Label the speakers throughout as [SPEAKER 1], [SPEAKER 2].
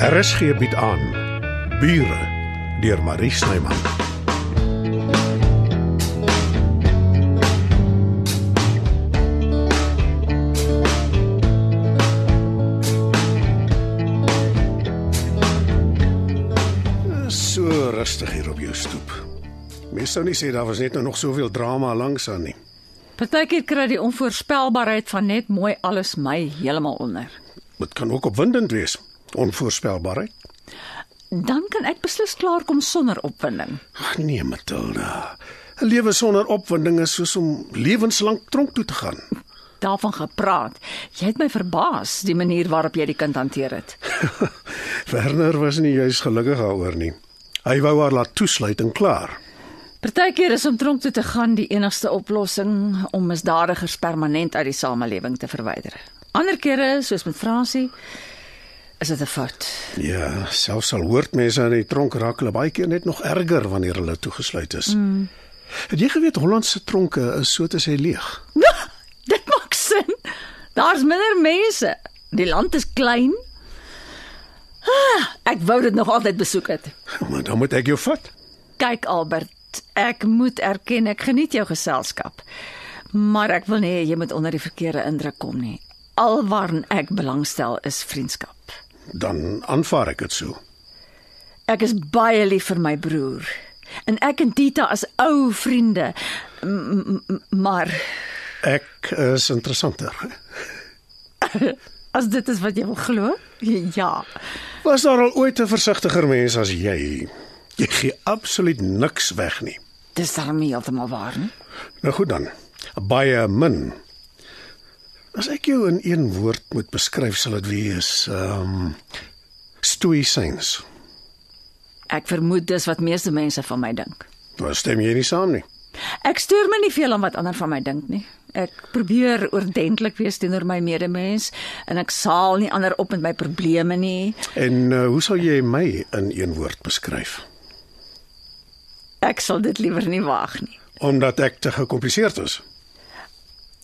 [SPEAKER 1] RSG bied aan Bure deur Marie Snyman. So rustig hier op jou stoep. Mens sou nie sê daar was net nou nog soveel drama langs aan nie.
[SPEAKER 2] Partykeer kry die onvoorspelbaarheid van net mooi alles my heeltemal onder.
[SPEAKER 1] Dit kan ook opwindend wees. Onvoorspelbaarheid.
[SPEAKER 2] Dan kan ek beslis klaarkom sonder opwinding.
[SPEAKER 1] Ag nee, Matilda. 'n Lewe sonder opwinding is soos om lewenslank tronk toe te gaan.
[SPEAKER 2] Daarvan gepraat. Jy het my verbaas die manier waarop jy die kind hanteer het.
[SPEAKER 1] Werner was nie juis gelukkig daaroor nie. Hy wou haar laat toesluit en klaar.
[SPEAKER 2] Partykeer is om tronk toe te gaan die enigste oplossing om misdadigers permanent uit die samelewing te verwyder. Ander kere, soos met Fransie, is dit 'n fout.
[SPEAKER 1] Ja, selfs al hoort mense aan die tronk raak hulle baie keer net nog erger wanneer hulle toegesluit is. Mm. Het jy geweet Hollandse tronke is so te sê leeg?
[SPEAKER 2] Ja, dit maak sin. Daar's minder mense. Die land is klein. Ah, ek wou dit nog altyd besoek het.
[SPEAKER 1] Maar dan moet ek jou vat.
[SPEAKER 2] Kyk Albert, ek moet erken ek geniet jou geselskap. Maar ek wil nie jy moet onder die verkeerde indruk kom nie. Alwaarn ek belangstel is vriendskap.
[SPEAKER 1] Dan aanvaar ek dit so.
[SPEAKER 2] Ek is baie lief vir my broer en ek en Tita is ou vriende. M- m- m- Maar
[SPEAKER 1] Ek is interessanter.
[SPEAKER 2] as dit is wat jy wil glo? Ja.
[SPEAKER 1] Was daar al ooit 'n versigtiger mens as jy? Jy gee absoluut niks weg nie.
[SPEAKER 2] Dis daarom nie heeltemal waar nie.
[SPEAKER 1] Nou goed dan. Baie min. As ek jou in een woord moet beskryf, sal dit wees ehm um, stoïsyns.
[SPEAKER 2] Ek vermoed dis wat meeste mense van my dink.
[SPEAKER 1] Nou stem jy nie saam nie.
[SPEAKER 2] Ek stoor my nie veel aan wat ander van my dink nie. Ek probeer oordentlik wees teenoor my medemens en ek saal nie ander op met my probleme nie.
[SPEAKER 1] En uh, hoe sal jy my in een woord beskryf?
[SPEAKER 2] Ek sal dit liewer nie waag nie,
[SPEAKER 1] Omdat ek te gekompliseerd is.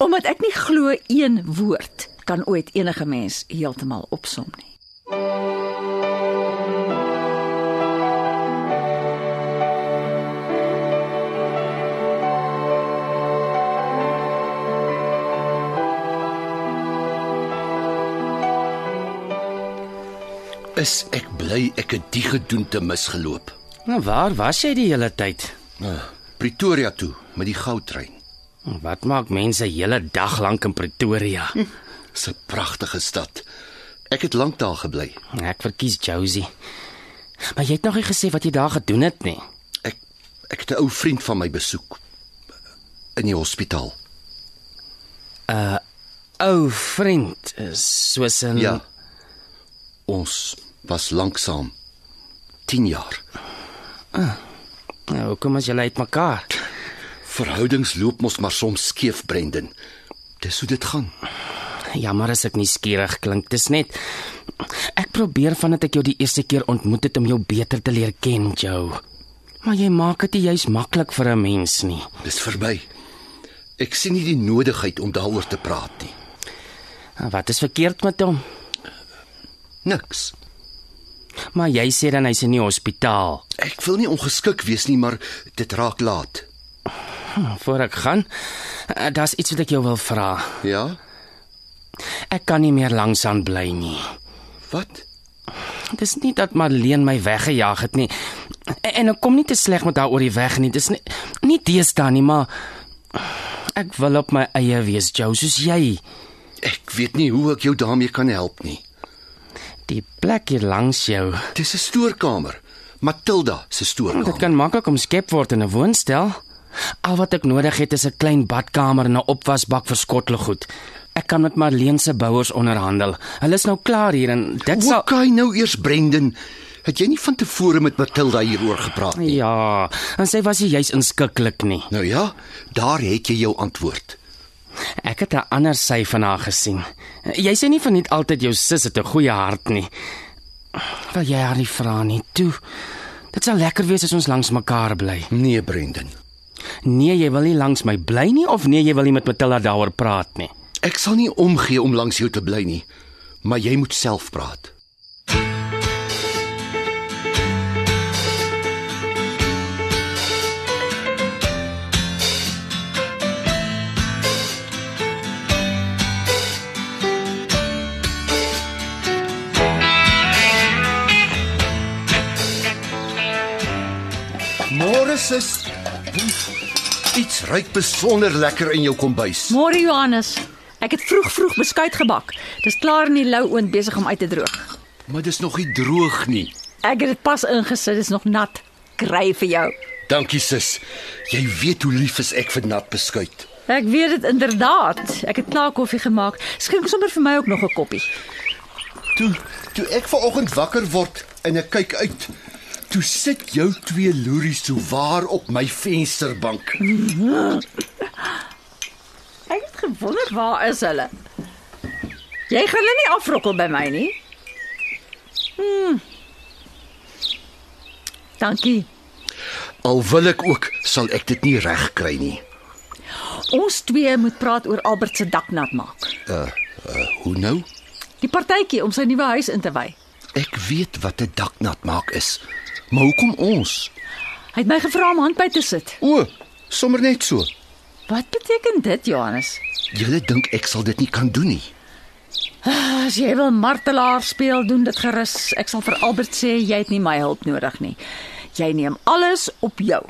[SPEAKER 2] omdat ek nie glo een woord kan ooit enige mens heeltemal opsom nie.
[SPEAKER 3] Is ek bly ek het die gedoente misgeloop.
[SPEAKER 4] Nou waar was jy die hele tyd?
[SPEAKER 3] Ah, Pretoria toe met die goudtrein.
[SPEAKER 4] Wat maak mense hele dag lank in Pretoria?
[SPEAKER 3] Dis 'n pragtige stad. Ek het lank daar gebly.
[SPEAKER 4] Ek verkies Josie. Maar jy het nog nie gesê wat jy daar gedoen het nie.
[SPEAKER 3] Ek ek het 'n ou vriend van my besoek eh, in die hospitaal.
[SPEAKER 4] Ou vriend, eh, soos 'n
[SPEAKER 3] Ja. Ons was lanksaam 10 jaar.
[SPEAKER 4] Nou, hoekom as julle uitmekaar?
[SPEAKER 3] Verhoudings loop mos maar soms skeef, Brendan. Dis hoe dit gaan.
[SPEAKER 4] Jammer as ek nie skierig klink. Dis net ek probeer vandat ek jou die eerste keer ontmoet het om jou beter te leer ken, Jo. Maar jy maak dit nie juis maklik vir 'n mens nie.
[SPEAKER 3] Dis verby. Ek sien nie die nodigheid om daaroor te praat nie.
[SPEAKER 4] Wat is verkeerd met hom?
[SPEAKER 3] Niks.
[SPEAKER 4] Maar jy sê dan hy's in die hospitaal.
[SPEAKER 3] Ek wil nie ongeskik wees nie, maar dit raak laat.
[SPEAKER 4] Voor ek gaan, eh, daar's iets wat ek jou wil vra.
[SPEAKER 3] Ja?
[SPEAKER 4] Ek kan nie meer langs aan bly nie.
[SPEAKER 3] Wat?
[SPEAKER 4] Dit is nie dat Marleen my weggejaag het nie. En, en ek kom nie te sleg met haar oor die weg nie. Dis nie nie teestaan nie, maar ek wil op my eie wees, Jo, soos jy.
[SPEAKER 3] Ek weet nie hoe ek jou daarmee kan help nie.
[SPEAKER 4] Die plek hier langs jou.
[SPEAKER 3] Dis 'n stoorkamer. Matilda se
[SPEAKER 4] Dit
[SPEAKER 3] stoorkamer.
[SPEAKER 4] kan maklik omskep word in 'n woonstel. Al wat ek nodig het is 'n klein badkamer en 'n opwasbak vir skottelgoed. Ek kan met Marleen se bouers onderhandel. Hulle is nou klaar hier en dit sal
[SPEAKER 3] Hoe kan jy nou eers Brendan? Het jy nie van tevore met Matilda hieroor gepraat nie?
[SPEAKER 4] Ja, en sy was nie juis inskikkelik nie.
[SPEAKER 3] Nou ja, daar het jy jou antwoord.
[SPEAKER 4] Ek het 'n ander sy van haar gesien. Jy sê nie verniet altyd jou sis het 'n goeie hart nie. Wil jy haar nie vra nie toe? Dit sal lekker wees as ons langs mekaar bly.
[SPEAKER 3] Nee, Brendan.
[SPEAKER 4] Nee, jy wil nie langs my bly nie of nee, jy wil nie met Matilda daaroor praat nie.
[SPEAKER 3] Ek sal nie omgee om langs jou te bly nie, maar jy moet self praat. sis. Iets ruik besonder lekker in jou kombuis.
[SPEAKER 2] Môre Johannes. Ek het vroeg vroeg beskuit gebak. Dis klaar in die lou oond besig om uit te droog.
[SPEAKER 3] Maar dis nog nie droog nie.
[SPEAKER 2] Ek het dit pas ingesit, dis nog nat. Kry vir jou.
[SPEAKER 3] Dankie sis. Jy weet hoe lief is ek vir nat beskuit.
[SPEAKER 2] Ek weet dit inderdaad. Ek het klaar koffie gemaak. Skink sommer vir my ook nog 'n koppie.
[SPEAKER 3] Toe toe ek vanoggend wakker word en ek kyk uit, toe sit jou twee loeries so waar op my vensterbank.
[SPEAKER 2] Ek het gewonder waar is hulle? Jy gaan hulle nie afrokkel by my nie. Hmm. Dankie.
[SPEAKER 3] Al wil ek ook, sal ek dit nie reg kry nie.
[SPEAKER 2] Ons twee moet praat oor Albert se dak nat maak.
[SPEAKER 3] Uh, uh hoe nou?
[SPEAKER 2] Die partytjie om sy nuwe huis in te wy.
[SPEAKER 3] Ek weet wat 'n daknat maak is. Maar hoekom ons?
[SPEAKER 2] Hy het my gevra om hand by te sit.
[SPEAKER 3] O, sommer net so.
[SPEAKER 2] Wat beteken dit, Johannes?
[SPEAKER 3] Julle dink ek sal dit nie kan doen nie.
[SPEAKER 2] As jy wil martelaar speel, doen dit gerus. Ek sal vir Albert sê jy het nie my hulp nodig nie. Jy neem alles op jou.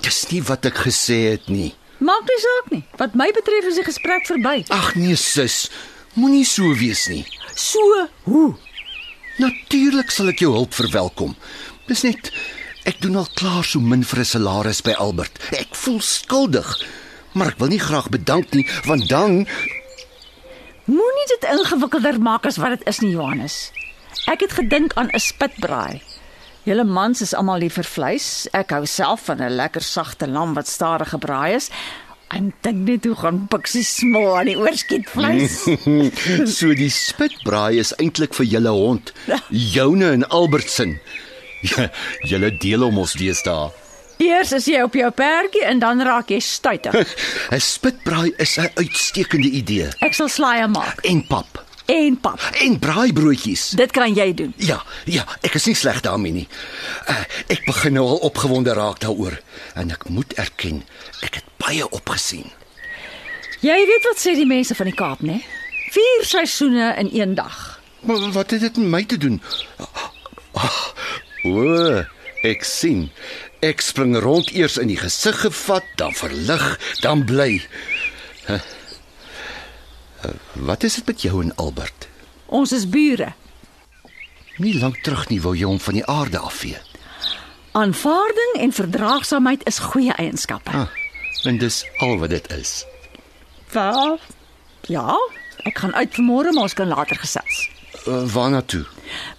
[SPEAKER 3] Dis nie wat ek gesê het nie.
[SPEAKER 2] Maak nie saak nie. Wat my betref is die gesprek verby.
[SPEAKER 3] Ag nee sis, moenie so wees nie.
[SPEAKER 2] So, hoe?
[SPEAKER 3] Natuurlik sal ek jou hulp verwelkom. Dis net ek doen al klaar so min vir 'n salaris by Albert. Ek voel skuldig. Maar ek wil nie graag bedank nie, want dan
[SPEAKER 2] Moenie dit ingewikkelder maak as wat dit is nie, Johannes. Ek het gedink aan 'n spitbraai. Julle mans is almal lief vir vleis. Ek hou self van 'n lekker sagte lam wat stadig gebraai is. En dink net hoe gaan Pixie smaal aan die oorskiet vleis.
[SPEAKER 3] so die spitbraai is eintlik vir julle hond, joune en Albert se. Ja, julle deel hom ons deesdae.
[SPEAKER 2] Eers is jy op jou perdjie en dan raak jy stuitig.
[SPEAKER 3] 'n Spitbraai is 'n uitstekende idee.
[SPEAKER 2] Ek sal slaaië maak
[SPEAKER 3] En pap
[SPEAKER 2] en pap.
[SPEAKER 3] en braaibroodjies.
[SPEAKER 2] Dit kan jy doen.
[SPEAKER 3] Ja, ja, ek is nie sleg daarmee nie. Uh, ek begin nou al opgewonde raak daaroor en ek moet erken, ek het baie opgesien.
[SPEAKER 2] Jy weet wat sê die mense van die Kaap, né? Vier seisoene in een dag.
[SPEAKER 3] Maar wat het dit met my te doen? O, ek sien. Ek spring rond eers in die gesig gevat, dan verlig, dan bly. Huh. Uh, Wat is dit met jou en Albert?
[SPEAKER 2] Ons is bure.
[SPEAKER 3] Nie lank terug nie wou jy hom van die aarde afvee.
[SPEAKER 2] Aanvaarding en verdraagsaamheid is goeie eienskappe.
[SPEAKER 3] Ah, en dis al wat dit is.
[SPEAKER 2] Wel, ja, ek gaan uit vanmôre, maar ons kan later gesels.
[SPEAKER 3] Uh, waarna toe?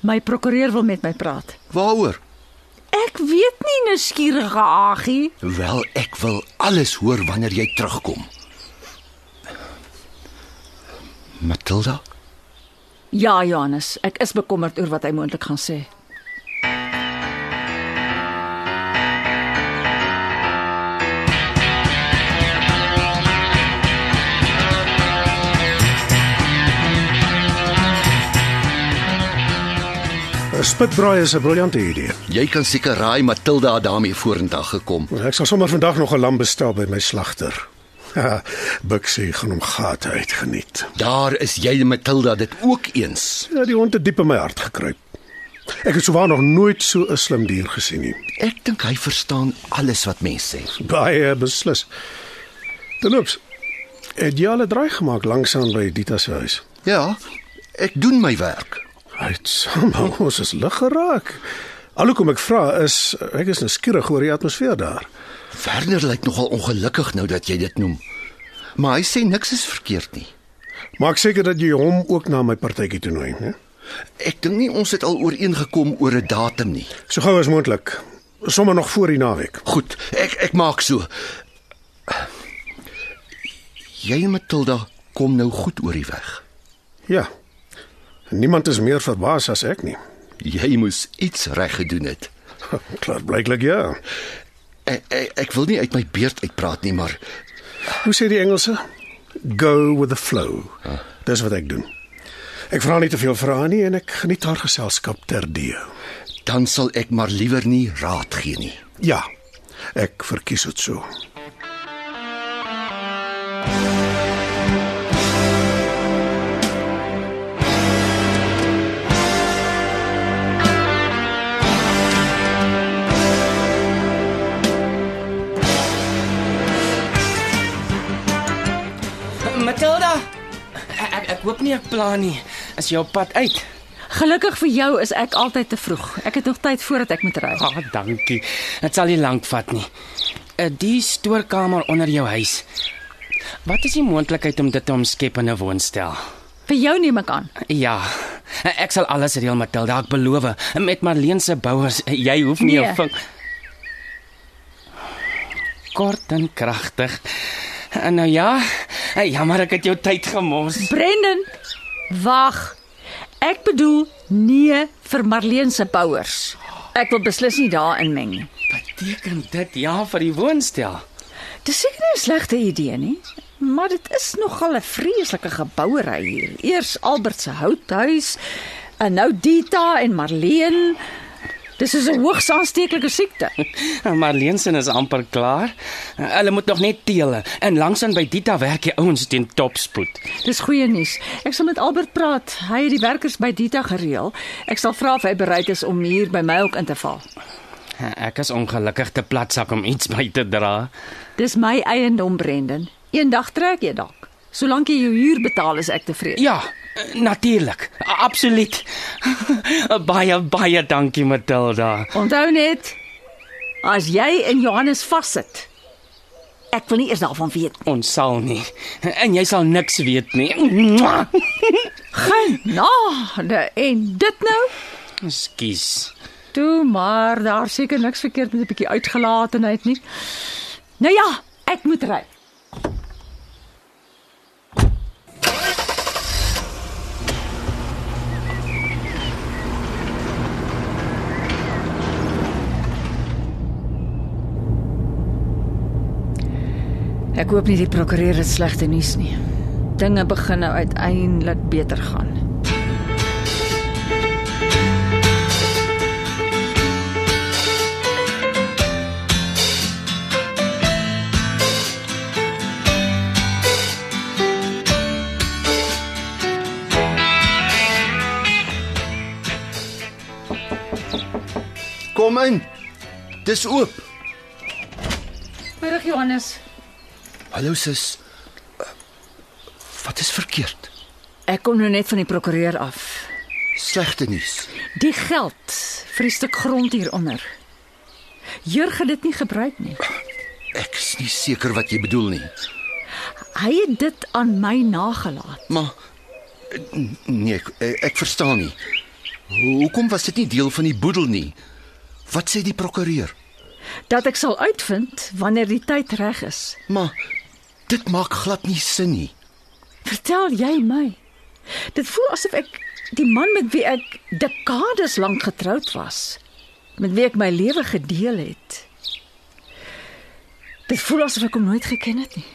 [SPEAKER 2] My prokureur wil met my praat.
[SPEAKER 3] Waaroor?
[SPEAKER 2] Ek weet nie, nuuskierige Agie.
[SPEAKER 3] Wel, ek wil alles hoor wanneer jy terugkom. Matilda?
[SPEAKER 2] Ja, Johannes, ek is bekommerd oor wat hy moontlik gaan sê.
[SPEAKER 1] Spitbraai is 'n briljante idee.
[SPEAKER 3] Jy kan seker raai Matilda het daarmee vorendag gekom.
[SPEAKER 1] Ek sal sommer vandag nog 'n lam bestel by my slagter. Bixie gaan hom gate uitgeniet.
[SPEAKER 3] Daar is jy en Matilda dit ook eens.
[SPEAKER 1] Ja, die hond het diep in my hart gekruip. Ek het souwaar nog nooit so 'n slim dier gesien nie.
[SPEAKER 3] Ek dink hy verstaan alles wat mense sê.
[SPEAKER 1] Baie beslis. Terloops, het jy al 'n draai gemaak langsaan by Dita se huis?
[SPEAKER 3] Ja, ek doen my werk.
[SPEAKER 1] Uitsame, ons is lig geraak. Alhoekom ek vra is ek is nou skieurig oor die atmosfeer daar.
[SPEAKER 3] Werner lyk nogal ongelukkig nou dat jy dit noem. Maar hy sê niks is verkeerd nie.
[SPEAKER 1] Maak seker dat jy hom ook na my partytjie toe nooi, né?
[SPEAKER 3] Ek dink nie ons het al ooreengekom oor 'n datum nie.
[SPEAKER 1] So gou as moontlik. Sommige nog voor die naweek.
[SPEAKER 3] Goed, ek ek maak so. Jy en Matilda kom nou goed oor die weg.
[SPEAKER 1] Ja. Niemand is meer verbaas as ek nie.
[SPEAKER 3] Jy moes iets reg gedoen het.
[SPEAKER 1] Klaar blyklik ja.
[SPEAKER 3] Ek, ek, ek wil nie uit my beurt uitpraat nie, maar
[SPEAKER 1] Hoe sê die Engelse? Go with the flow. Dis wat ek doen. Ek vra nie te veel vrae nie en ek geniet haar geselskap terdee.
[SPEAKER 3] dan sal ek maar liewer nie raad gee nie.
[SPEAKER 1] Ja. Ek verkies dit so.
[SPEAKER 4] Ek ek hoop nie ek pla nie. As jy op pad uit.
[SPEAKER 2] Gelukkig vir jou is ek altyd te vroeg. Ek het nog tyd voordat ek moet ry.
[SPEAKER 4] Ah, dankie. Dit sal nie lank vat nie. Eh, Die stoorkamer onder jou huis. Wat is die moontlikheid om dit te omskep in 'n woonstel?
[SPEAKER 2] Vir jou neem ek aan.
[SPEAKER 4] Ja. Ek sal alles reël, Matilda, ek beloof. Met Marlene se bouers, jy hoef nie
[SPEAKER 2] Nee.
[SPEAKER 4] jou ving kort en kragtig. En nou ja, jammer ek het jou tyd gemors.
[SPEAKER 2] Brendan, wag. Ek bedoel nee vir Marleen se bouers. Ek wil beslis nie daarin meng nie.
[SPEAKER 4] Beteken dit ja vir die woonstel?
[SPEAKER 2] Dis seker nie 'n slegte idee nie, maar dit is nogal 'n vreeslike gebouery hier. Eers Albert se houthuis en nou Dita en Marleen. Dis is 'n hoogs aansteeklike siekte.
[SPEAKER 4] Marlene se is amper klaar. Hulle moet nog net teel en langs aan by Dita werk die ouens teen topspoed.
[SPEAKER 2] Dis goeie nuus. Ek sal met Albert praat. Hy het die werkers by Dita gereël. Ek sal vra of hy bereid is om hier by my ook in te val.
[SPEAKER 4] Ek is ongelukkig te platsak om iets by te dra.
[SPEAKER 2] Dis my eiendom, Brendan. Eendag trek jy dalk. Solank jy jou huur betaal, is ek tevrede.
[SPEAKER 4] Ja, natuurlik. A- Absoluut. baie baie dankie Matilda.
[SPEAKER 2] Onthou net, as jy in Johannes vassit, ek wil nie eers daarvan weet.
[SPEAKER 4] Ons sal nie en jy sal niks weet nie.
[SPEAKER 2] Genade, Nou, en dit nou?
[SPEAKER 4] Ekskuus.
[SPEAKER 2] Toe maar, daar seker niks verkeerd met 'n bietjie uitgelatenheid nie. Nou ja, ek moet ry. Ek hoop nie die prokureur het slegte nuus nie. Dinge begin nou uiteindelik beter gaan.
[SPEAKER 3] Kom in. Dis oop.
[SPEAKER 2] Middag Johannes.
[SPEAKER 3] Hallo sis. Uh, Wat is verkeerd?
[SPEAKER 2] Ek kom nou net van die prokureur af.
[SPEAKER 3] Slegte nuus.
[SPEAKER 2] Die geld vir die stuk grond hieronder. Jurg het dit nie gebruik nie.
[SPEAKER 3] Ek is nie seker wat jy bedoel nie.
[SPEAKER 2] Hy het dit aan my nagelaat.
[SPEAKER 3] Maar n- nee, ek, ek verstaan nie. Hoekom was dit nie deel van die boedel nie? Wat sê die prokureur?
[SPEAKER 2] Dat ek sal uitvind wanneer die tyd reg is.
[SPEAKER 3] Maar dit maak glad nie sin nie.
[SPEAKER 2] Vertel jy my. Dit voel asof ek die man met wie ek dekades lank getroud was, met wie ek my lewe gedeel het. Dit voel asof ek hom nooit geken het nie.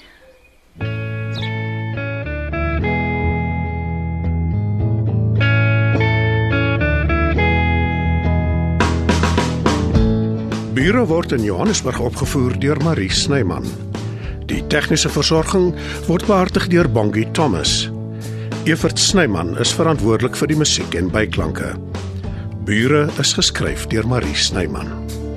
[SPEAKER 1] Bure word in Johannesburg opgevoer deur Marie Snyman. Die tegniese versorging word behartig deur Bongie Thomas. Evert Snyman is verantwoordelik vir die musiek en byklanke. Bure is geskryf deur Marie Snyman.